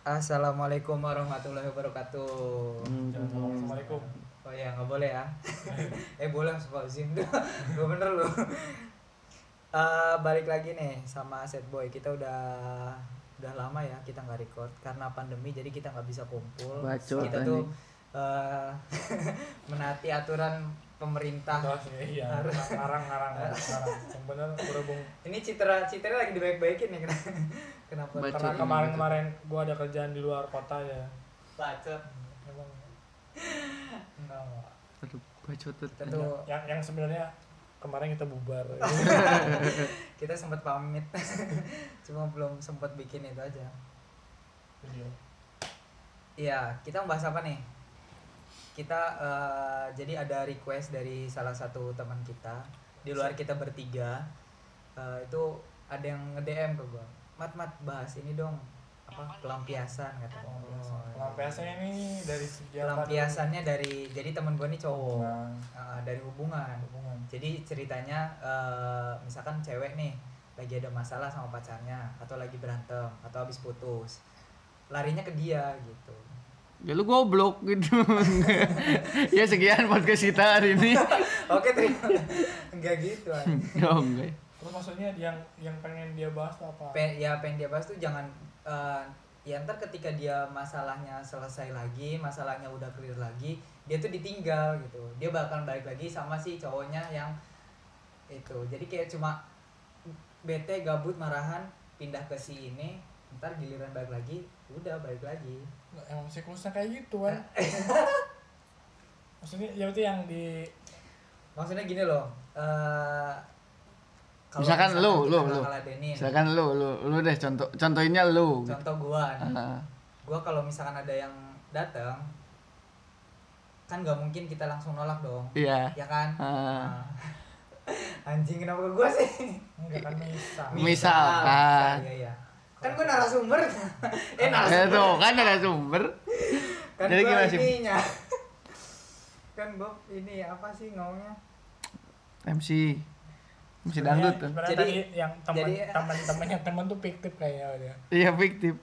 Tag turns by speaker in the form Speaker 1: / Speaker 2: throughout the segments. Speaker 1: Assalamualaikum warahmatullahi wabarakatuh.
Speaker 2: Assalamualaikum.
Speaker 1: Oh ya nggak boleh ya? eh boleh sebab izin Gua bener lu. Eh, balik lagi nih sama Set Boy. Kita udah udah lama ya kita nggak record karena pandemi jadi kita nggak bisa kumpul.
Speaker 3: Bacot
Speaker 1: kita tuh eh, menati aturan pemerintah.
Speaker 2: Terus ya, iya, larang larang larang. Yang benar berhubung
Speaker 1: Ini citra citra lagi dibaik-baikin nih kenapa? kenapa
Speaker 3: Bacot.
Speaker 2: karena
Speaker 3: ini
Speaker 2: kemarin-kemarin gua ada kerjaan di luar kota ya.
Speaker 1: bacot?
Speaker 2: Emang enggak. Wak.
Speaker 3: Aduh, bacotet.
Speaker 1: Kita tuh
Speaker 2: Yang yang sebenarnya kemarin kita bubar.
Speaker 1: kita sempat pamit cuma belum sempat bikin itu aja
Speaker 2: Video.
Speaker 1: iya kita membahas apa nih kita eh, jadi ada request dari salah satu teman kita di luar kita bertiga eh, itu ada yang nge DM ke gua mat mat bahas ini dong apa pelampiasan kata iya.
Speaker 2: Oh, pelampiasannya ini dari sejarah
Speaker 1: pelampiasannya dari jadi teman gua nih cowok
Speaker 2: Nah,
Speaker 1: Eh, dari hubungan
Speaker 2: hubungan.
Speaker 1: jadi ceritanya eh, misalkan cewek nih lagi ada masalah sama pacarnya atau lagi berantem atau habis putus larinya ke dia gitu
Speaker 3: Ya lu goblok gitu. ya sekian podcast kita hari ini.
Speaker 1: oke terima nggak gitu An.
Speaker 3: Ya enggak. ya.
Speaker 2: Terus maksudnya yang yang pengen dia bahas tuh apa?
Speaker 1: Pe- ya pengen dia bahas tuh jangan eh, ya ntar ketika dia masalahnya selesai lagi masalahnya udah clear lagi dia tuh ditinggal gitu dia bakal balik lagi sama si cowoknya yang itu jadi kayak cuma bete gabut marahan pindah ke si ini ntar giliran balik lagi udah balik lagi
Speaker 2: Emang siklusnya kayak gitu kan. maksudnya ya itu yang di
Speaker 1: maksudnya gini loh eh kalau
Speaker 3: Misalkan lu,
Speaker 1: kita
Speaker 3: lu,
Speaker 1: nggak
Speaker 3: lu.
Speaker 1: ngeladenin,
Speaker 3: Silakan lu lu lu deh contoh contohinnya lu.
Speaker 1: contoh gua nih.
Speaker 3: Ah,
Speaker 1: gua kalau misalkan ada yang datang kan nggak mungkin kita langsung nolak dong
Speaker 3: Iya.
Speaker 1: ya kan
Speaker 3: Ah.
Speaker 1: Nah. anjing kenapa ke gua sih
Speaker 2: enggak kan bisa.
Speaker 3: Misalkan.
Speaker 1: Misal, iya, iya. kan gua narasumber eh
Speaker 3: Ya
Speaker 1: narasumber
Speaker 3: tuh kan ada sumber.
Speaker 1: kan
Speaker 3: Jadi
Speaker 1: gua
Speaker 3: gimana sih?
Speaker 1: ininya kan gua ini apa sih ngomongnya
Speaker 3: MC. MC
Speaker 1: Iya.
Speaker 3: dangdut tuh.
Speaker 2: Sebenarnya
Speaker 1: Jadi-
Speaker 2: tadi yang teman
Speaker 1: jadi-
Speaker 2: teman temannya teman tuh fiktif kayaknya udah.
Speaker 3: Iya fiktif.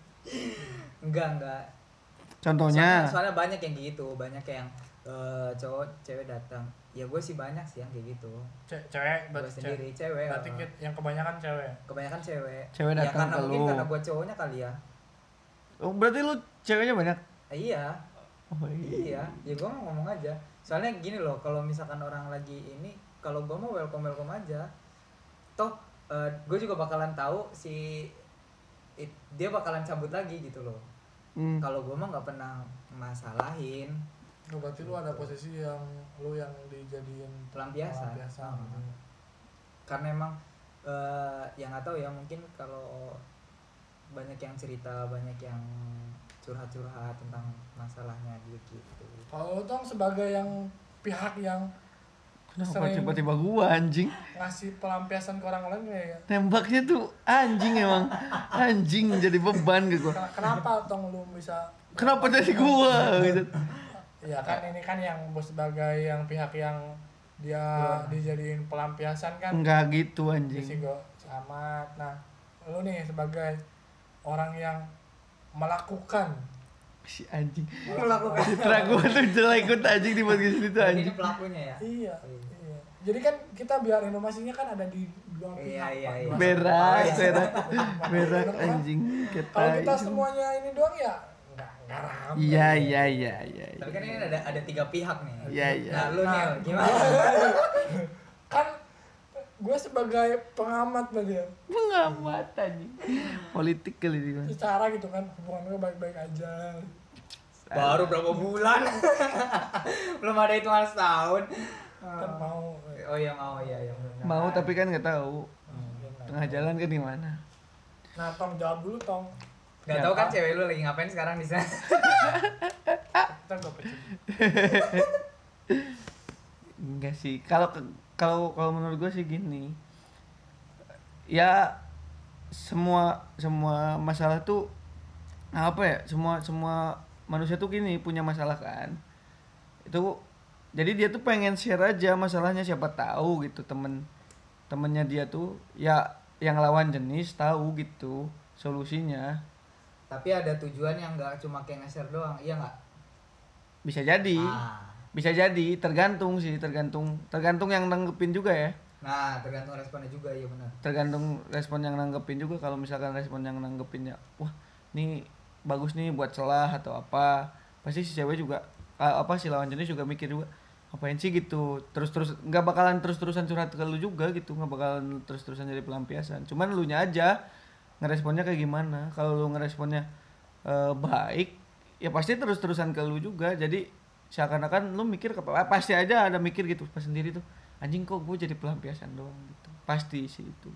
Speaker 1: enggak enggak
Speaker 3: Contohnya
Speaker 1: Soalnya, soalnya banyak yang kayak gitu, banyak yang eh, cowok cewek datang. Ya gue sih banyak sih yang kayak gitu.
Speaker 2: Ce- cewek
Speaker 1: Gue
Speaker 2: berarti
Speaker 1: sendiri
Speaker 2: cewek.
Speaker 1: cewek.
Speaker 2: Berarti
Speaker 1: eh,
Speaker 2: kit- yang kebanyakan cewek.
Speaker 1: kebanyakan cewek.
Speaker 3: Cewek
Speaker 1: ya
Speaker 3: datang
Speaker 1: karena
Speaker 3: ke
Speaker 1: mungkin
Speaker 3: lu.
Speaker 1: karena gue cowoknya kali ya.
Speaker 3: Oh, berarti lu ceweknya banyak.
Speaker 1: Eh, iya,
Speaker 3: Oh, iya.
Speaker 1: iya. Ya gue mau ngomong aja. Soalnya gini loh, kalau misalkan orang lagi ini, kalau gue mau welcome welcome aja. Toh gue juga bakalan tahu si it- dia bakalan cabut lagi gitu loh.
Speaker 3: Hmm.
Speaker 1: Kalau gue mah nggak pernah masalahin
Speaker 2: Lu Oh, berarti lu ada posisi yang lu yang dijadiin
Speaker 1: Pelampiasan.
Speaker 2: pelampiasan
Speaker 1: Ah.
Speaker 2: gitu.
Speaker 1: karena emang eh yang nggak tahu ya mungkin kalau banyak yang cerita banyak yang curhat-curhat tentang masalahnya dia gitu
Speaker 2: Kalau lu dong sebagai yang pihak yang
Speaker 3: Kenapa
Speaker 2: sering-
Speaker 3: tiba-tiba gua anjing?
Speaker 2: ngasih pelampiasan ke orang lain ya.
Speaker 3: Tembaknya tuh anjing emang. Anjing jadi beban ke gua.
Speaker 2: Ken- Kenapa tong lu bisa
Speaker 3: Kenapa jadi gua gitu.
Speaker 2: Ya kan ini kan yang bos sebagai yang pihak yang dia dijadiin pelampiasan kan.
Speaker 3: Enggak gitu
Speaker 2: Dia sih
Speaker 3: anjing.
Speaker 2: gue amat. Nah, lu nih sebagai orang yang melakukan
Speaker 3: Si anjing.
Speaker 1: melakukan
Speaker 3: Citra gua tuh jelek ikut anjing di podcast itu
Speaker 1: ini
Speaker 3: Iya, anjing.
Speaker 1: pelakunya ya
Speaker 2: Iya. iya. Jadi kan kita biar inovasinya kan ada di dua
Speaker 1: Iya, iya,
Speaker 2: pihak. Pak.
Speaker 1: iya.
Speaker 2: Dua
Speaker 3: Berak,
Speaker 2: sisi.
Speaker 3: berak, berak
Speaker 2: Bener kan?
Speaker 3: anjing.
Speaker 2: Kalau kita ya.
Speaker 3: Kita
Speaker 2: semuanya ini doang ya enggak enggak ramai.
Speaker 3: Iya, iya, iya, iya.
Speaker 1: tapi kan ini ada ada tiga pihak nih
Speaker 3: Iya, iya.
Speaker 1: nah lu nih
Speaker 2: Nah,
Speaker 1: gimana
Speaker 2: Kan gue sebagai pengamat berarti ya.
Speaker 3: Pengamat anjing. Politik kali ini. Mas.
Speaker 2: Secara gitu kan hubungan gue baik-baik aja.
Speaker 1: baru berapa bulan belum ada hitungan setahun
Speaker 2: Kan mau eh,
Speaker 1: oh yang mau ya yang
Speaker 3: Mau tapi kan nggak tahu.
Speaker 2: ya enggak.
Speaker 3: Tengah jalan kan gimana?
Speaker 2: Nah, Tong jawab dulu Tong.
Speaker 1: nggak tahu kan cewek lu lagi ngapain sekarang di sana
Speaker 3: Ah.
Speaker 2: Ntar gue pecah.
Speaker 3: Enggak sih. Kalau ke- kalau kalau menurut gue sih gini. Ya semua semua masalah tuh apa ya? Semua semua manusia tuh gini punya masalah kan. Itu jadi dia tuh pengen share aja masalahnya siapa tahu gitu temen temennya dia tuh ya yang lawan jenis tahu gitu solusinya
Speaker 1: tapi ada tujuan yang nggak cuma kayak nge-share doang iya nggak
Speaker 3: bisa jadi
Speaker 1: nah,
Speaker 3: bisa jadi tergantung sih tergantung tergantung yang nanggepin juga ya
Speaker 1: nah tergantung responnya juga iya benar
Speaker 3: tergantung respon yang nanggepin juga kalau misalkan respon yang nanggepinnya wah ini bagus nih buat celah atau apa pasti si cewek juga ah, apa si lawan jenis juga mikir juga apain sih gitu terus terus nggak bakalan terus terusan curhat ke lu juga gitu nggak bakalan terus terusan jadi pelampiasan cuman lu nya aja ngeresponnya kayak gimana kalau lu ngeresponnya eh, baik ya pasti terus terusan ke lu juga jadi seakan-akan lu mikir ke eh, pasti aja ada mikir gitu pas sendiri tuh anjing kok gue jadi pelampiasan doang gitu pasti sih itu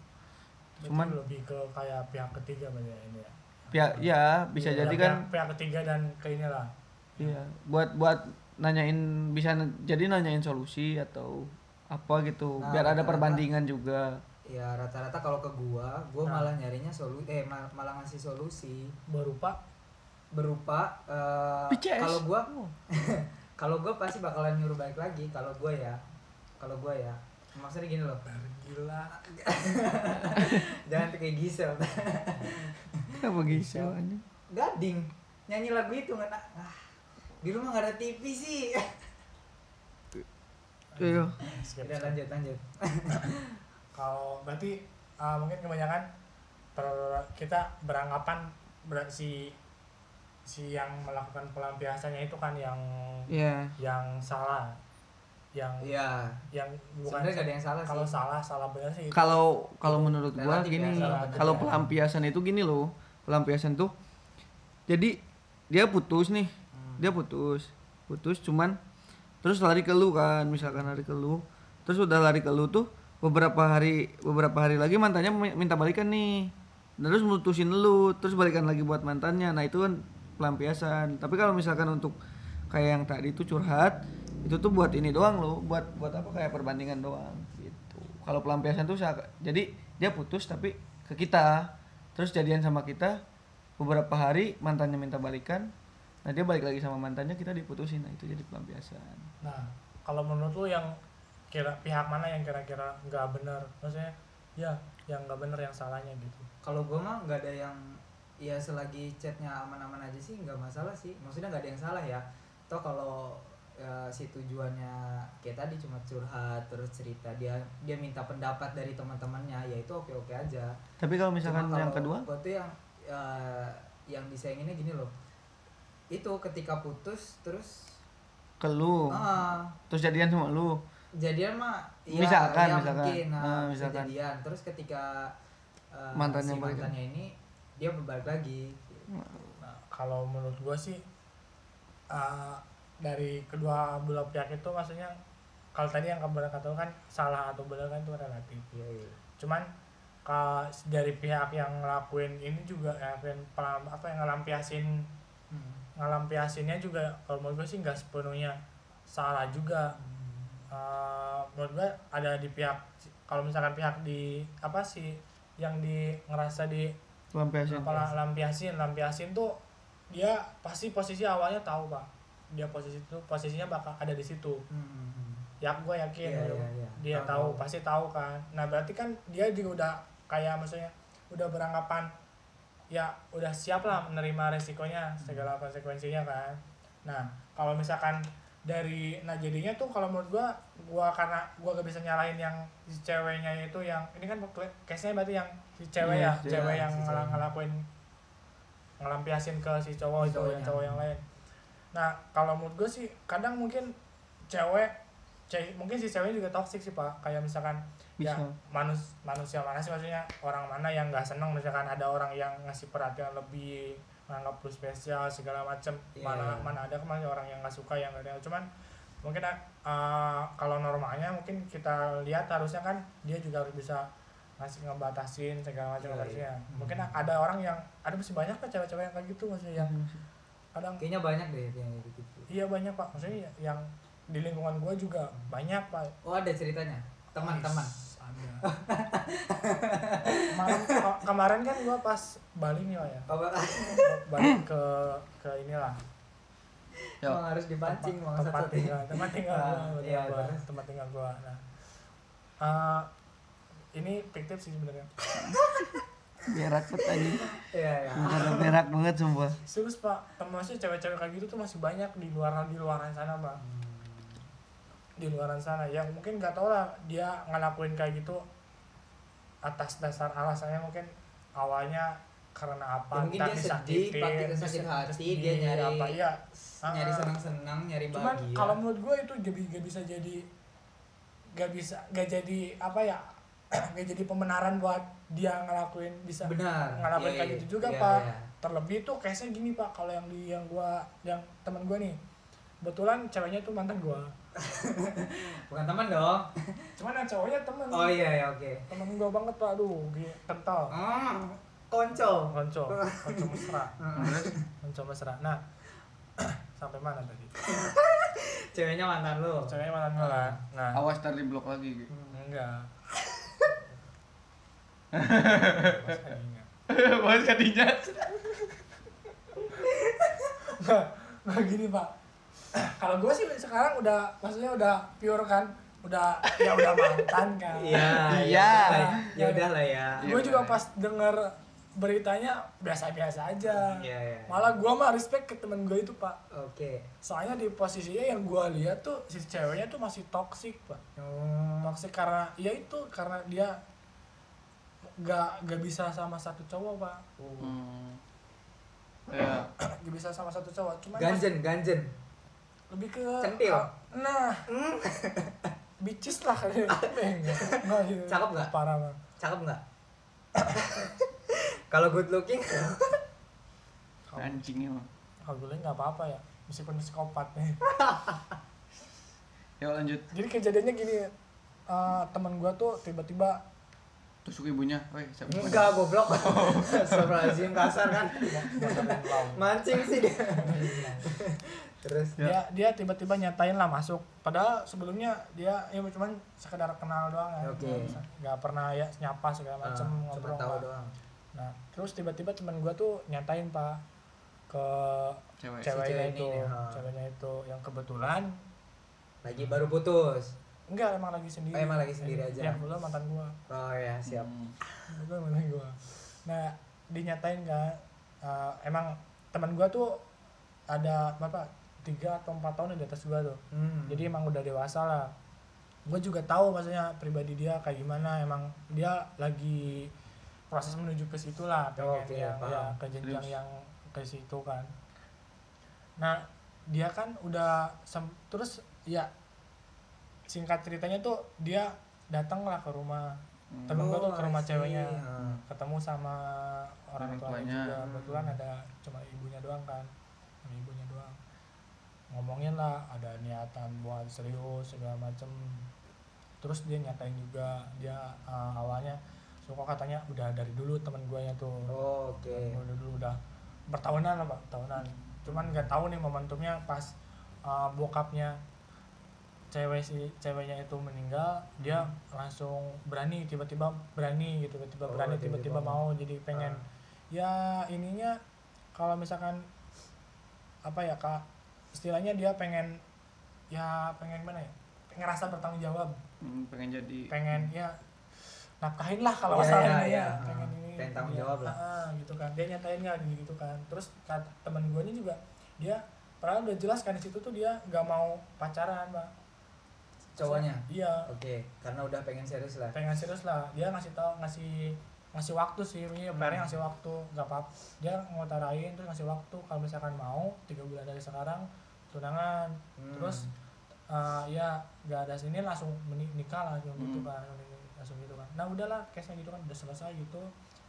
Speaker 3: cuman
Speaker 2: Cuman lebih ke kayak pihak ketiga banyak ini ya.
Speaker 3: ya ya bisa
Speaker 1: Iya,
Speaker 2: Ya,
Speaker 3: jadi
Speaker 2: pihak-
Speaker 3: kan
Speaker 2: pihak ketiga dan ke inilah.
Speaker 3: iya buat buat nanyain bisa na- jadi nanyain solusi atau apa gitu
Speaker 1: Nah,
Speaker 3: biar ada
Speaker 1: rata-rata-
Speaker 3: perbandingan juga
Speaker 1: ya rata-rata kalau ke gua gua
Speaker 2: Nah.
Speaker 1: malah nyarinya solu eh mal- malah ngasih solusi
Speaker 2: Berupa
Speaker 1: berupa eh,
Speaker 3: PCS.
Speaker 1: kalau gua
Speaker 3: Oh,
Speaker 1: kalau gua pasti bakalan nyuruh balik lagi kalau gua ya kalau gua ya maksudnya gini loh
Speaker 2: gila
Speaker 1: jangan kayak Gisel
Speaker 3: apa gitu anjing
Speaker 1: gading nyanyi lagu itu nggak na- ah, di rumah nggak ada TV sih
Speaker 3: Iya.
Speaker 2: skip,
Speaker 1: udah
Speaker 2: skip.
Speaker 1: lanjut lanjut
Speaker 2: kalau berarti uh, mungkin kebanyakan per- kita beranggapan ber- si si yang melakukan pelampiasannya itu kan yang
Speaker 3: Iya.
Speaker 2: yang salah yang
Speaker 1: iya
Speaker 2: yang bukan
Speaker 1: sebenarnya nggak ada yang salah
Speaker 2: kalau
Speaker 1: sih
Speaker 2: salah salah benar sih
Speaker 3: kalau kalau menurut gua
Speaker 1: Relatif ya,
Speaker 3: gini
Speaker 2: relatif
Speaker 3: kalau
Speaker 2: ya.
Speaker 3: pelampiasan itu gini loh pelampiasan tuh jadi dia putus nih
Speaker 1: Hmm.
Speaker 3: dia putus putus cuman terus lari ke lu kan misalkan lari ke lu terus udah lari ke lu tuh beberapa hari beberapa hari lagi mantannya mi- minta balikan nih nah terus mutusin lu terus balikan lagi buat mantannya nah itu kan pelampiasan tapi kalau misalkan untuk kayak yang tadi itu curhat itu tuh buat ini doang loh buat buat apa kayak perbandingan doang gitu kalau pelampiasan tuh seakan- jadi dia putus tapi ke kita terus jadian sama kita beberapa hari mantannya minta balikan nah dia balik lagi sama mantannya kita diputusin nah itu jadi pelampiasan
Speaker 2: nah kalau menurut lu yang kira pihak mana yang kira-kira nggak benar maksudnya ya yang nggak benar yang salahnya gitu
Speaker 1: kalau gua mah nggak ada yang ya selagi chatnya aman-aman aja sih nggak masalah sih maksudnya nggak ada yang salah ya toh kalau ya, si tujuannya kayak tadi cuma curhat terus cerita dia dia minta pendapat dari teman-temannya ya itu oke oke aja
Speaker 3: tapi kalau misalkan
Speaker 1: Cuma
Speaker 3: yang
Speaker 1: kalau
Speaker 3: kedua
Speaker 1: gua tuh yang eh, yang disayanginnya gini loh itu ketika putus terus
Speaker 3: ke lu
Speaker 1: ah,
Speaker 3: terus jadian sama lu
Speaker 1: jadian mah
Speaker 3: Misalkan,
Speaker 1: ya
Speaker 3: misalkan.
Speaker 1: mungkin nah,
Speaker 3: Ah,
Speaker 1: bisa
Speaker 3: misalkan.
Speaker 1: jadian terus ketika eh,
Speaker 3: Mantannya
Speaker 1: si
Speaker 3: balik.
Speaker 1: mantannya ini dia berbalik lagi
Speaker 2: Nah, kalau menurut gue sih uh, dari kedua belah pihak itu maksudnya kalau tadi yang kabar kata lu kan salah atau benar kan itu relatif.
Speaker 1: Iya, iya.
Speaker 2: Cuman ka- dari pihak yang ngelakuin ini juga yang ngelakuin pelam, apa yang ngelampiasin
Speaker 1: Hmm.
Speaker 2: ngelampiasinnya juga kalau menurut gue sih nggak sepenuhnya salah juga. Uh, menurut gue ada di pihak kalau misalkan pihak di apa sih yang di ngerasa di
Speaker 3: pelampiasan
Speaker 2: kalau lampiasin lampiasin tuh dia pasti posisi awalnya tahu pak dia posisi itu posisinya bakal ada di situ
Speaker 1: Hmm, hmm.
Speaker 2: ya gue yakin
Speaker 1: Iya,
Speaker 2: lu.
Speaker 1: iya, iya.
Speaker 2: dia tahu,
Speaker 1: Tahu, tahu.
Speaker 2: pasti tahu kan nah berarti kan dia juga udah kayak maksudnya udah beranggapan ya udah siap lah menerima resikonya segala konsekuensinya kan nah kalau misalkan dari nah jadinya tuh kalau menurut gua gua karena gua gak bisa nyalahin yang si ceweknya itu yang ini kan case nya berarti yang si cewek
Speaker 3: Iya,
Speaker 2: ya
Speaker 3: si
Speaker 2: cewek
Speaker 1: cewek,
Speaker 2: yang
Speaker 1: si cewek.
Speaker 2: ngel- ngelakuin ngelampiasin ke si
Speaker 1: Si
Speaker 2: cowok itu yang
Speaker 1: cowoknya.
Speaker 2: cowok yang lain nah kalau menurut gue sih kadang mungkin cewek ce- mungkin si cewek juga toksik sih pak kayak misalkan ya
Speaker 3: Bisa.
Speaker 2: manus manusia mana sih maksudnya orang mana yang nggak seneng misalkan ada orang yang ngasih perhatian lebih menganggap lu spesial segala macem
Speaker 1: Iya.
Speaker 2: mana mana ada kemarin orang yang nggak suka yang nggak ada cuman mungkin eh, kalau normalnya mungkin kita lihat harusnya kan dia juga harus bisa ngasih ngebatasin segala
Speaker 1: Iya,
Speaker 2: macam
Speaker 1: iya.
Speaker 2: harusnya mungkin ada orang yang ada masih banyak kan cewek-cewek yang kayak gitu
Speaker 1: Ya.
Speaker 2: maksudnya yang
Speaker 1: Hmm.
Speaker 2: kadang
Speaker 1: kayaknya banyak deh yang gitu
Speaker 2: Iya banyak pak, maksudnya ya- yang di lingkungan gua juga banyak pak.
Speaker 1: oh ada ceritanya teman-teman
Speaker 2: Is, Ada. kemarin, ke- kemarin kan gua pas Bali nih pak ya,
Speaker 1: apa
Speaker 2: Gua balik
Speaker 1: Hmm.
Speaker 2: ke ke inilah
Speaker 3: Yo.
Speaker 1: Emang harus dipancing
Speaker 2: tempat,
Speaker 1: mau
Speaker 2: tempat
Speaker 1: satu ya?
Speaker 2: tinggal, tempat tinggal gua,
Speaker 1: Ah, iya,
Speaker 2: tempat tinggal gua,
Speaker 1: terus.
Speaker 2: tempat tinggal gua. Nah, eh, ini fiktif sih sebenarnya.
Speaker 3: berak banget anjing
Speaker 1: Iya, iya.
Speaker 3: karena berak banget sumpah
Speaker 2: Serius pak, termasuk cewek-cewek kayak gitu tuh masih banyak di luar di luaran sana pak.
Speaker 1: Hmm.
Speaker 2: Di luaran sana, yang mungkin gak tau lah dia ngelakuin kayak gitu atas dasar alasannya mungkin awalnya karena
Speaker 1: Ya,
Speaker 2: apa?
Speaker 1: mungkin
Speaker 2: entah
Speaker 1: dia sedih,
Speaker 2: disakitin,
Speaker 1: pakai
Speaker 2: terus
Speaker 1: sakit
Speaker 2: terus
Speaker 1: hati,
Speaker 2: di-
Speaker 1: dia nyari-
Speaker 2: apa, iya.
Speaker 1: Nyari
Speaker 2: Ah.
Speaker 1: senang-senang, nyari
Speaker 2: Cuman
Speaker 1: bahagia.
Speaker 2: kalau menurut gue itu jadi gak bisa jadi gak bisa gak jadi apa ya gak jadi pembenaran buat dia ngelakuin bisa
Speaker 1: benar.
Speaker 2: ngalamin
Speaker 1: Iya,
Speaker 2: kayak
Speaker 1: iya,
Speaker 2: gitu juga
Speaker 1: iya,
Speaker 2: pak
Speaker 1: iya.
Speaker 2: terlebih tuh case nya gini pak kalau yang di yang gua yang teman gua nih kebetulan ceweknya tuh mantan gua
Speaker 1: Bukan teman dong.
Speaker 2: cuman yang cowoknya temen
Speaker 1: Oh iya, iya oke.
Speaker 2: temen gua banget pak aduh gini kental
Speaker 1: Hmm, konco.
Speaker 2: konco konco mesra
Speaker 3: Terus,
Speaker 2: konco mesra nah sampai mana tadi
Speaker 1: Ceweknya mantan lu.
Speaker 2: ceweknya mantan gua kan nah
Speaker 3: awas tar di blok lagi gitu.
Speaker 2: enggak Mas, anjingnya.
Speaker 3: Bos kadinya.
Speaker 2: Nggak, nggak gini pak kalau gue sih sekarang udah maksudnya udah pure kan udah ya udah mantan kan
Speaker 1: Iya,
Speaker 3: Iya.
Speaker 1: Ya udah lah ya.
Speaker 2: gue juga pas denger beritanya biasa-biasa aja
Speaker 1: Iya, iya.
Speaker 2: malah gue mah respect ke temen gue itu pak
Speaker 1: Oke.
Speaker 2: soalnya di posisinya yang gue lihat tuh si ceweknya tuh masih toxic pak
Speaker 1: Hmm.
Speaker 2: toxic karena ya itu karena dia gak gak bisa sama satu cowok pak
Speaker 3: Hmm. Ya.
Speaker 2: gak bisa sama satu cowok cuman pas-
Speaker 1: Ganjen, ganjen.
Speaker 2: lebih ke
Speaker 1: Centil. Hmm.
Speaker 2: nah bicis lah kayaknya Nah, gitu.
Speaker 1: Cakep nggak?
Speaker 2: parah bang
Speaker 1: Cakep nggak? Kalau good looking,
Speaker 3: Anjing emang.
Speaker 2: kalau gue nggak apa-apa ya meskipun psikopat
Speaker 3: Ya lanjut.
Speaker 2: jadi kejadiannya gini eh, teman gua tuh tiba-tiba
Speaker 3: Tusuk ibunya. Woi, siapa ibunya?
Speaker 1: enggak goblok. Astagfirullahaladzim kasar kan.
Speaker 2: bakalan lawan.
Speaker 1: Mancing sih dia. Terus
Speaker 2: dia dia tiba-tiba nyatain lah masuk padahal sebelumnya dia ya cuman sekedar kenal doang ya
Speaker 1: Oke.
Speaker 2: nggak pernah ya nyapa segala
Speaker 1: ah,
Speaker 2: macem
Speaker 1: cuma
Speaker 2: ngobrol
Speaker 1: tahu
Speaker 2: Pak.
Speaker 1: doang.
Speaker 2: nah terus tiba-tiba teman gua tuh nyatain pak ke
Speaker 3: Cewek.
Speaker 2: ceweknya
Speaker 1: Nah, Si cewek ini
Speaker 2: itu
Speaker 1: nih, ha.
Speaker 2: ceweknya itu yang kebetulan
Speaker 1: Lagi baru putus.
Speaker 2: enggak emang lagi sendiri
Speaker 1: Oh, emang lagi sendiri aja.
Speaker 2: yang dulu mantan gua
Speaker 1: Oh ya, siap.
Speaker 3: Hmm.
Speaker 2: dulu mantan gua nah dinyatain kan eh, emang teman gua tuh ada berapa tiga atau empat tahun di atas gua tuh
Speaker 1: Hmm.
Speaker 2: jadi emang udah dewasa lah gue juga tahu maksudnya pribadi dia kayak gimana emang dia lagi proses menuju ke situ lah pengen
Speaker 1: Oh, Oke,
Speaker 2: yang
Speaker 1: paham.
Speaker 2: ya, ke jenjang
Speaker 3: Serius.
Speaker 2: yang ke situ kan nah dia kan udah sem- terus ya singkat ceritanya tuh dia datang lah ke rumah
Speaker 3: Hmm.
Speaker 2: temen gue tuh ke
Speaker 1: Oh,
Speaker 2: rumah
Speaker 1: I see.
Speaker 2: ceweknya
Speaker 1: Hmm.
Speaker 2: ketemu sama orang
Speaker 3: Orang
Speaker 2: tuanya
Speaker 3: tuanya.
Speaker 2: juga
Speaker 1: Hmm.
Speaker 2: kebetulan ada cuma ibunya doang kan sama ibunya doang ngomongin lah ada niatan buat serius segala macem terus dia nyatain juga dia eh, awalnya suka katanya udah dari dulu temen gue nya tuh
Speaker 1: Oh, Oke.
Speaker 2: udah dulu udah bertahunan lah pak tahunan cuman nggak tahu nih momentumnya pas uh, bokapnya cewek si ceweknya itu meninggal dia langsung berani tiba-tiba berani gitu tiba-tiba
Speaker 1: Hmm. Oh,
Speaker 2: berani
Speaker 1: tiba-tiba
Speaker 2: tiba-tiba mau jadi pengen
Speaker 1: Ah.
Speaker 2: ya ininya kalau misalkan apa ya kak istilahnya dia pengen ya pengen mana ya pengen rasa bertanggung jawab
Speaker 3: Hmm, pengen jadi
Speaker 2: pengen ya nafkahin lah kalau
Speaker 1: Iya,
Speaker 2: masalahnya
Speaker 1: iya,
Speaker 2: ya,
Speaker 1: iya.
Speaker 2: pengen
Speaker 1: Ah,
Speaker 2: ini
Speaker 1: pengen tanggung
Speaker 2: iya.
Speaker 1: jawab lah.
Speaker 2: Ah, gitu kan dia nyatain nggak gitu gitu kan terus kata temen gue ini juga dia padahal udah jelas kan di situ tuh dia nggak mau pacaran pak
Speaker 1: Cowoknya.
Speaker 2: iya
Speaker 1: Oke, karena udah pengen serius lah.
Speaker 2: pengen serius lah dia ngasih tahu ngasih ngasih waktu sih ini
Speaker 1: Hmm.
Speaker 2: PR-nya ngasih waktu nggak apa dia ngutarain terus ngasih waktu kalau misalkan mau tiga bulan dari sekarang tunangan
Speaker 1: Hmm.
Speaker 2: terus eh, ya nggak ada sini langsung meni- nikah lah gitu
Speaker 1: Hmm.
Speaker 2: kan langsung gitu kan nah udahlah case nya gitu kan udah selesai gitu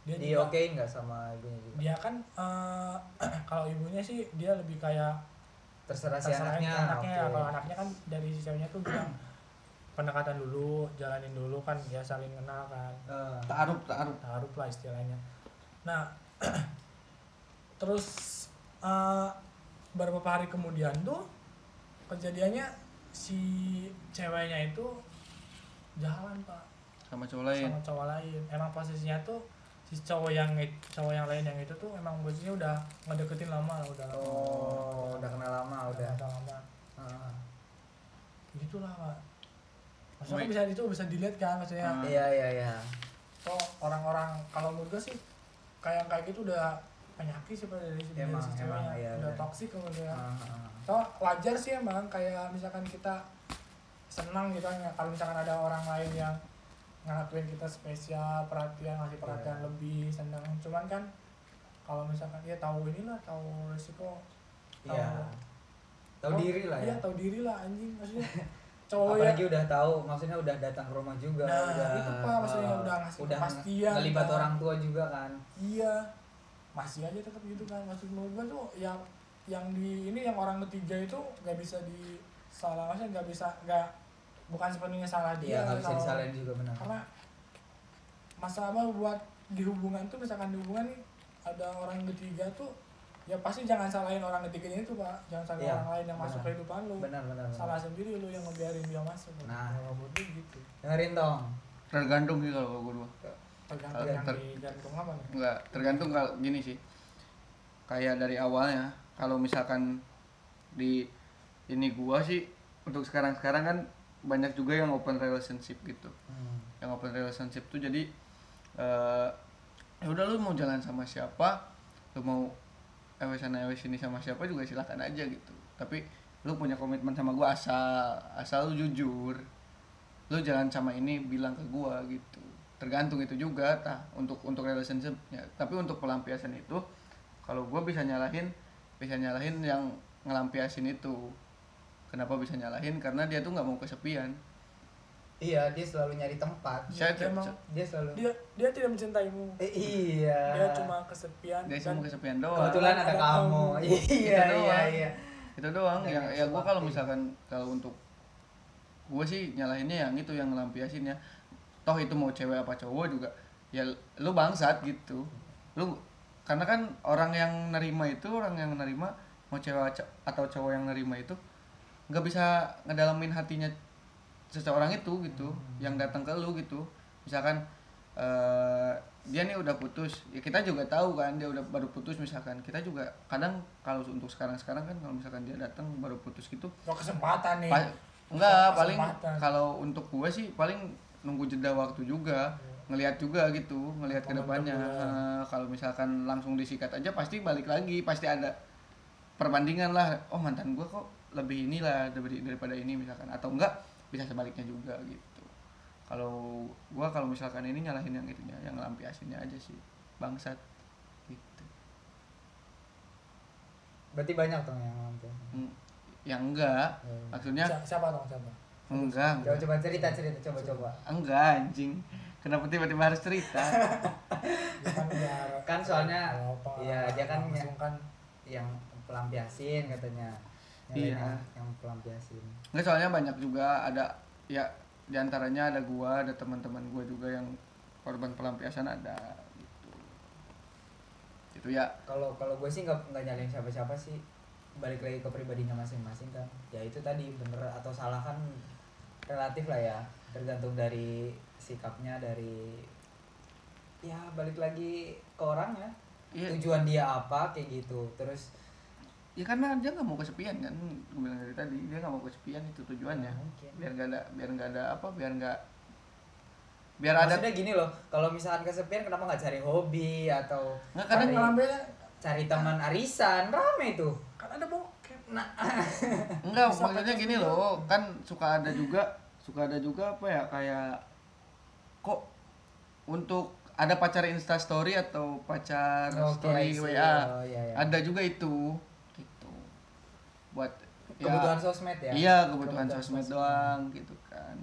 Speaker 2: dia
Speaker 1: Di
Speaker 2: juga-
Speaker 1: okein nggak sama ibunya juga?
Speaker 2: dia kan eh, kalau ibunya sih dia lebih kayak
Speaker 1: Terserah si
Speaker 2: terserah
Speaker 1: anaknya.
Speaker 2: anaknya
Speaker 1: oke.
Speaker 2: kalau anaknya kan dari si ceweknya tuh bilang pendekatan dulu jalanin dulu kan dia saling kenal kan
Speaker 1: Eh,
Speaker 3: taruh taruh.
Speaker 2: taruh lah istilahnya nah terus eh, beberapa hari kemudian tuh kejadiannya si ceweknya itu jalan pak
Speaker 3: sama cowok lain.
Speaker 2: sama cowok lain emang posisinya tuh si cowok yang cowok yang lain yang itu tuh emang posisinya udah ngedeketin lama lah udah lama.
Speaker 1: oh, udah kenal lama udah.
Speaker 2: udah lama
Speaker 1: Ah,
Speaker 2: gitulah pak
Speaker 1: Ah.
Speaker 2: maksudnya kan bisa itu bisa dilihat kan maksudnya
Speaker 3: Hmm.
Speaker 1: Iya, iya, iya.
Speaker 2: kok orang-orang kalau menurut gue sih kayak kayak gitu udah penyakit sih pada dari si dari
Speaker 1: Emang,
Speaker 2: si
Speaker 1: emang,
Speaker 2: ceweknya.
Speaker 1: iya,
Speaker 2: udah
Speaker 1: iya.
Speaker 2: toksik kalau dia
Speaker 1: Ah, ah, ah.
Speaker 2: so wajar sih emang kayak misalkan kita senang gitu kan ya. kalau misalkan ada orang lain yang ngelakuin kita spesial perhatian ngasih perhatian
Speaker 1: Iya.
Speaker 2: lebih senang cuman kan kalau misalkan ya tahu inilah tahu resiko tahu
Speaker 1: Iya. Tahu
Speaker 2: tahu-
Speaker 1: diri lah
Speaker 2: iya
Speaker 1: ya.
Speaker 2: tahu diri lah anjing maksudnya cowok ya
Speaker 1: Apalagi udah tahu, maksudnya udah datang ke rumah juga.
Speaker 2: Nah,
Speaker 1: udah,
Speaker 2: itu, Pak, maksudnya
Speaker 1: eh,
Speaker 2: udah ngasih
Speaker 1: udah
Speaker 2: kepastian, gitu.
Speaker 1: ngelibat
Speaker 2: udah-
Speaker 1: orang tua juga kan.
Speaker 2: iya masih aja tetap gitu kan maksud gue tuh yang yang di ini yang orang ketiga itu nggak bisa di salah maksudnya nggak bisa nggak bukan sepenuhnya salah
Speaker 1: Iya,
Speaker 2: dia
Speaker 1: nggak bisa
Speaker 2: kalau-
Speaker 1: disalahin juga benar.
Speaker 2: karena masalah buat di hubungan tuh misalkan di hubungan nih ada orang ketiga tuh ya pasti jangan salahin orang ketiganya itu pak jangan salahin
Speaker 1: Iya,
Speaker 2: orang lain yang masuk
Speaker 1: benar.
Speaker 2: kehidupan lu
Speaker 1: Benar, benar, benar.
Speaker 2: salah sendiri lu yang ngebiarin dia masuk
Speaker 1: Nah.
Speaker 2: kalau menurut gue gitu
Speaker 1: Dengerin dong.
Speaker 3: tergantung sih kalau gue dua
Speaker 2: tergantung
Speaker 3: Ter-
Speaker 2: yang
Speaker 3: ter-
Speaker 2: digantung apa nih
Speaker 3: nggak tergantung kalau gini sih kayak dari awalnya kalau misalkan di ini gua sih untuk sekarang sekarang kan banyak juga yang open relationship gitu
Speaker 1: Hmm.
Speaker 3: yang open relationship tuh jadi eh ya udah lu mau jalan sama siapa lu mau ewe sana ewe sini sama siapa juga silakan aja gitu tapi lu punya komitmen sama gua asal asal lu jujur lu jalan sama ini bilang ke gua gitu tergantung itu juga tah untuk untuk relationshipnya tapi untuk pelampiasan itu kalau gua bisa nyalahin bisa nyalahin yang ngelampiasin itu kenapa bisa nyalahin karena dia tuh nggak mau kesepian
Speaker 1: Iya, dia selalu nyari tempat.
Speaker 2: Iya,
Speaker 3: saya
Speaker 2: dia
Speaker 3: tuh-
Speaker 2: mau-
Speaker 1: Dia selalu
Speaker 2: dia dia tidak mencintaimu
Speaker 1: Eh, iya.
Speaker 2: dia cuma kesepian
Speaker 3: dia
Speaker 2: dan
Speaker 3: cuma kesepian doang
Speaker 1: kebetulan ada
Speaker 2: Ada
Speaker 1: kamu.
Speaker 2: kamu.
Speaker 1: Iya,
Speaker 3: Gitu
Speaker 1: iya,
Speaker 3: doang.
Speaker 1: iya.
Speaker 3: itu doang
Speaker 1: Dan
Speaker 3: ya
Speaker 1: yang
Speaker 3: ya gue kalau
Speaker 1: sewaktu.
Speaker 3: misalkan kalau untuk gue sih nyalahinnya yang itu yang ngelampiasin ya toh itu mau cewek apa cowok juga ya lu bangsat gitu lu karena kan orang yang nerima itu orang yang nerima mau cewek ac- atau cowok yang nerima itu nggak bisa ngedalamin hatinya seseorang itu gitu yang datang ke lu gitu misalkan eh, dia nih udah putus ya kita juga tahu kan dia udah baru putus misalkan kita juga kadang kalau untuk sekarang sekarang kan kalau misalkan dia datang baru putus gitu
Speaker 2: Oh, kesempatan nih
Speaker 3: Pa- enggak paling
Speaker 2: Kesempatan.
Speaker 3: kalau untuk gue sih paling nunggu jeda waktu juga ngelihat juga gitu ngelihat ke
Speaker 2: Momentum
Speaker 3: depannya
Speaker 2: juga.
Speaker 3: Eh, kalau misalkan langsung disikat aja pasti balik lagi pasti ada perbandingan lah oh mantan gue kok lebih inilah dari- daripada ini misalkan atau enggak bisa sebaliknya juga gitu kalau gue kalau misalkan ini nyalahin yang itunya yang lampiasinnya aja sih bangsat gitu
Speaker 1: Berarti banyak dong yang mampu.
Speaker 3: Hmm, yang enggak
Speaker 1: Hmm.
Speaker 3: maksudnya
Speaker 2: Si- siapa dong siapa
Speaker 3: enggak
Speaker 1: Coba coba cerita cerita coba coba.
Speaker 3: Enggak anjing. Kenapa tiba-tiba harus cerita?
Speaker 2: Dia kan biar
Speaker 1: Kan soalnya-
Speaker 2: kalau apa-
Speaker 1: iya, dia kan-
Speaker 2: langsung kan
Speaker 1: Yang pelampiasin katanya. Yang
Speaker 3: Iya.
Speaker 1: lainnya Yang pelampiasin.
Speaker 3: Enggak soalnya banyak juga ada ya diantaranya ada gua, ada teman-teman gua juga yang korban pelampiasan ada gitu. Itu ya
Speaker 1: Kalau kalau gue sih nggak nggak nyalain siapa siapa sih. Balik lagi ke pribadinya masing-masing kan. Ya itu tadi bener atau salah kan relatif lah ya. Tergantung dari sikapnya dari ya balik lagi ke orang ya.
Speaker 3: Iya.
Speaker 1: Tujuan dia apa kayak gitu. Terus
Speaker 3: ya karena dia nggak mau kesepian kan gue bilang dari tadi dia nggak mau kesepian itu tujuannya
Speaker 1: Ya, mungkin.
Speaker 3: biar nggak ada biar nggak ada apa biar nggak biar ada
Speaker 1: maksudnya gini loh. Kalau misalkan kesepian kenapa nggak cari hobi atau
Speaker 3: nggak
Speaker 2: kadang
Speaker 3: kadang
Speaker 2: ngelambilnya
Speaker 1: cari teman arisan rame tuh
Speaker 2: kan ada bokep nah
Speaker 3: Enggak,
Speaker 2: Bisa
Speaker 3: maksudnya
Speaker 2: pakai
Speaker 3: gini
Speaker 2: video.
Speaker 3: loh, kan suka ada juga, suka ada juga apa ya kayak kok untuk ada pacar Insta story atau pacar
Speaker 1: Oke, I
Speaker 3: story
Speaker 1: see.
Speaker 3: WA.
Speaker 1: Oh, iya, iya.
Speaker 3: Ada juga itu gitu. Buat ya-
Speaker 1: kebutuhan sosmed ya
Speaker 3: Iya, kebutuhan,
Speaker 1: Kebutuhan
Speaker 3: sosmed
Speaker 1: sosmed.
Speaker 3: doang gitu kan.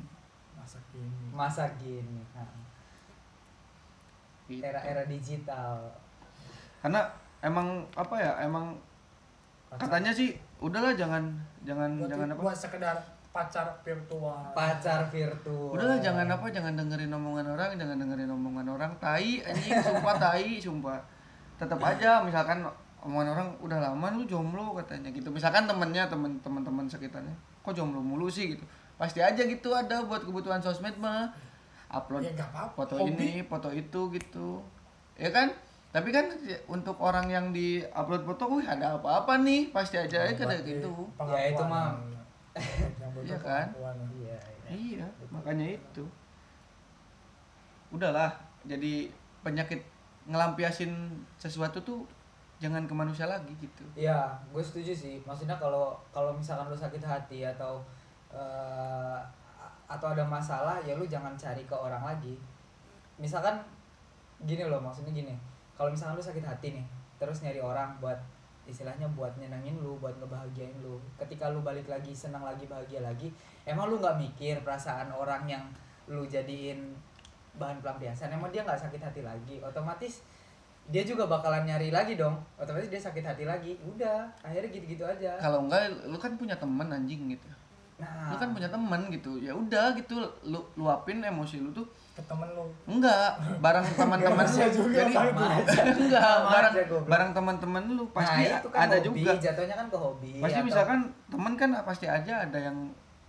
Speaker 2: masa gini
Speaker 1: masa gini ha.
Speaker 3: Gitu.
Speaker 1: era-era digital
Speaker 3: Karena emang apa ya, emang katanya sih udahlah jangan jangan
Speaker 2: buat,
Speaker 3: jangan apa
Speaker 2: buat sekedar pacar virtual
Speaker 1: pacar virtual
Speaker 3: Udahlah jangan apa jangan dengerin omongan orang, jangan dengerin omongan orang tai anjing sumpah tai sumpah. Tetap aja misalkan omongan orang udah lama lu jomblo katanya gitu. Misalkan temennya temen teman teman sekitarnya kok jomblo mulu sih gitu. Pasti aja gitu ada buat kebutuhan sosmed mah. Upload
Speaker 2: Ya, nggak apa-apa,
Speaker 3: foto
Speaker 2: hobi.
Speaker 3: ini, foto itu gitu. Ya kan? Tapi kan untuk orang yang di upload foto, wih ada apa-apa nih, pasti aja ya kayak
Speaker 2: Berarti
Speaker 3: gitu.
Speaker 2: pengakuan
Speaker 1: Ya, itu mah.
Speaker 2: yang- Iya, yang butuh
Speaker 3: Iya kan?
Speaker 2: pengakuan.
Speaker 1: iya, iya.
Speaker 3: Iya, makanya itu. Udahlah, jadi penyakit ngelampiasin sesuatu tuh jangan ke manusia lagi gitu
Speaker 1: Iya, gue setuju sih. Maksudnya kalau kalau misalkan lu sakit hati atau eh, atau ada masalah, ya lu jangan cari ke orang lagi. Misalkan gini loh, maksudnya gini. Kalau misalkan lu sakit hati nih, terus nyari orang buat istilahnya buat nyenengin lu, buat ngebahagiain lu. Ketika lu balik lagi senang lagi bahagia lagi, emang lu nggak mikir perasaan orang yang lu jadiin bahan pelampiasan, emang dia nggak sakit hati lagi. Otomatis dia juga bakalan nyari lagi dong otomatis dia sakit hati lagi udah akhirnya gitu-gitu aja
Speaker 3: kalau enggak lu kan punya teman anjing gitu
Speaker 1: nah
Speaker 3: lu kan punya teman gitu ya udah gitu lu luapin emosi lu tuh
Speaker 2: ke temen lu
Speaker 3: enggak barang teman-teman lu
Speaker 2: Manusia juga
Speaker 3: jadi
Speaker 2: apa itu?
Speaker 1: Iya sama aja
Speaker 3: enggak
Speaker 1: Sama
Speaker 3: barang
Speaker 1: aja, goblok.
Speaker 3: barang teman-teman lu pasti
Speaker 1: Nah, itu kan
Speaker 3: ada
Speaker 1: hobi,
Speaker 3: juga
Speaker 1: jatuhnya kan ke hobi
Speaker 3: pasti
Speaker 1: atau-
Speaker 3: misalkan temen kan pasti aja ada yang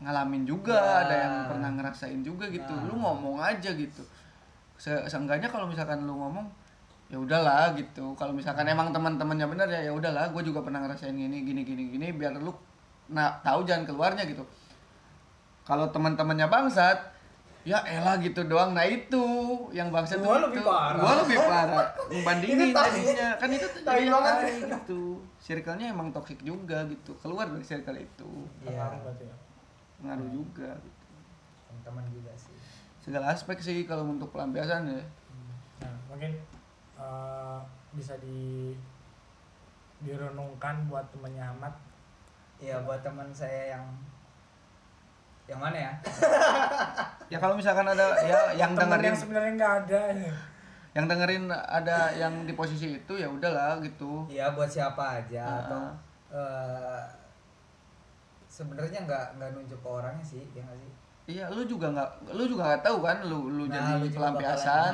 Speaker 3: ngalamin juga
Speaker 1: Ya.
Speaker 3: ada yang pernah ngerasain juga gitu
Speaker 1: Nah.
Speaker 3: lu ngomong aja gitu Se- seenggaknya kalau misalkan lu ngomong ya udahlah gitu kalau misalkan
Speaker 1: Iya.
Speaker 3: emang teman-temannya benar ya ya udahlah gue juga pernah ngerasain ini gini gini gini biar lu nah tahu jalan keluarnya gitu kalau teman-temannya bangsat ya elah gitu doang nah itu yang bangsat
Speaker 1: Gua
Speaker 3: tuh
Speaker 1: lebih
Speaker 3: itu.
Speaker 1: parah.
Speaker 3: Gua lebih parah ngebandingin
Speaker 1: Ini tai.
Speaker 3: jadinya kan itu
Speaker 1: Tai
Speaker 3: jadi yang
Speaker 1: banget.
Speaker 3: tai gitu circle-nya emang toxic juga gitu keluar dari circle itu
Speaker 1: Iya,
Speaker 2: pengaruh berarti ya
Speaker 3: ngaruh
Speaker 1: Hmm.
Speaker 3: juga gitu.
Speaker 1: teman juga sih
Speaker 3: segala aspek sih kalau untuk pelampiasan ya
Speaker 2: nah mungkin eh, bisa di direnungkan buat temennya Ahmad
Speaker 1: Iya buat teman saya yang yang mana ya
Speaker 3: ya kalau misalkan ada ya yang
Speaker 2: temen
Speaker 3: dengerin
Speaker 2: yang sebenarnya nggak ada
Speaker 3: yang dengerin ada yang di posisi itu ya udahlah gitu
Speaker 1: Iya buat siapa aja
Speaker 3: Ah.
Speaker 1: atau eh, sebenarnya nggak nggak nunjuk ke orangnya sih ya nggak sih
Speaker 3: iya lu juga nggak lu juga nggak tahu kan lu lu jadi
Speaker 1: Nah, juga
Speaker 3: pelampiasan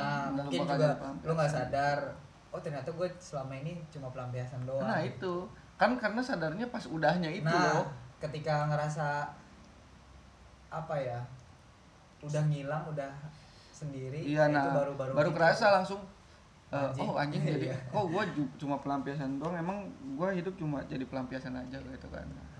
Speaker 1: bakalan- nah,
Speaker 3: dan lu
Speaker 1: mungkin
Speaker 3: bakal
Speaker 1: juga
Speaker 3: jadi
Speaker 1: lu nggak
Speaker 3: pelampiasan.
Speaker 1: sadar oh ternyata gue selama ini cuma pelampiasan doang
Speaker 3: nah itu kan karena sadarnya pas udahnya itu
Speaker 1: nah,
Speaker 3: loh
Speaker 1: ketika ngerasa apa ya udah ngilang udah sendiri
Speaker 3: Iya
Speaker 1: itu
Speaker 3: nah baru
Speaker 1: baru-baru gitu.
Speaker 3: kerasa langsung eh,
Speaker 1: Anjing.
Speaker 3: oh anjing jadi
Speaker 1: Iya.
Speaker 3: kok gue cuma pelampiasan doang emang gue hidup cuma jadi pelampiasan aja gitu kan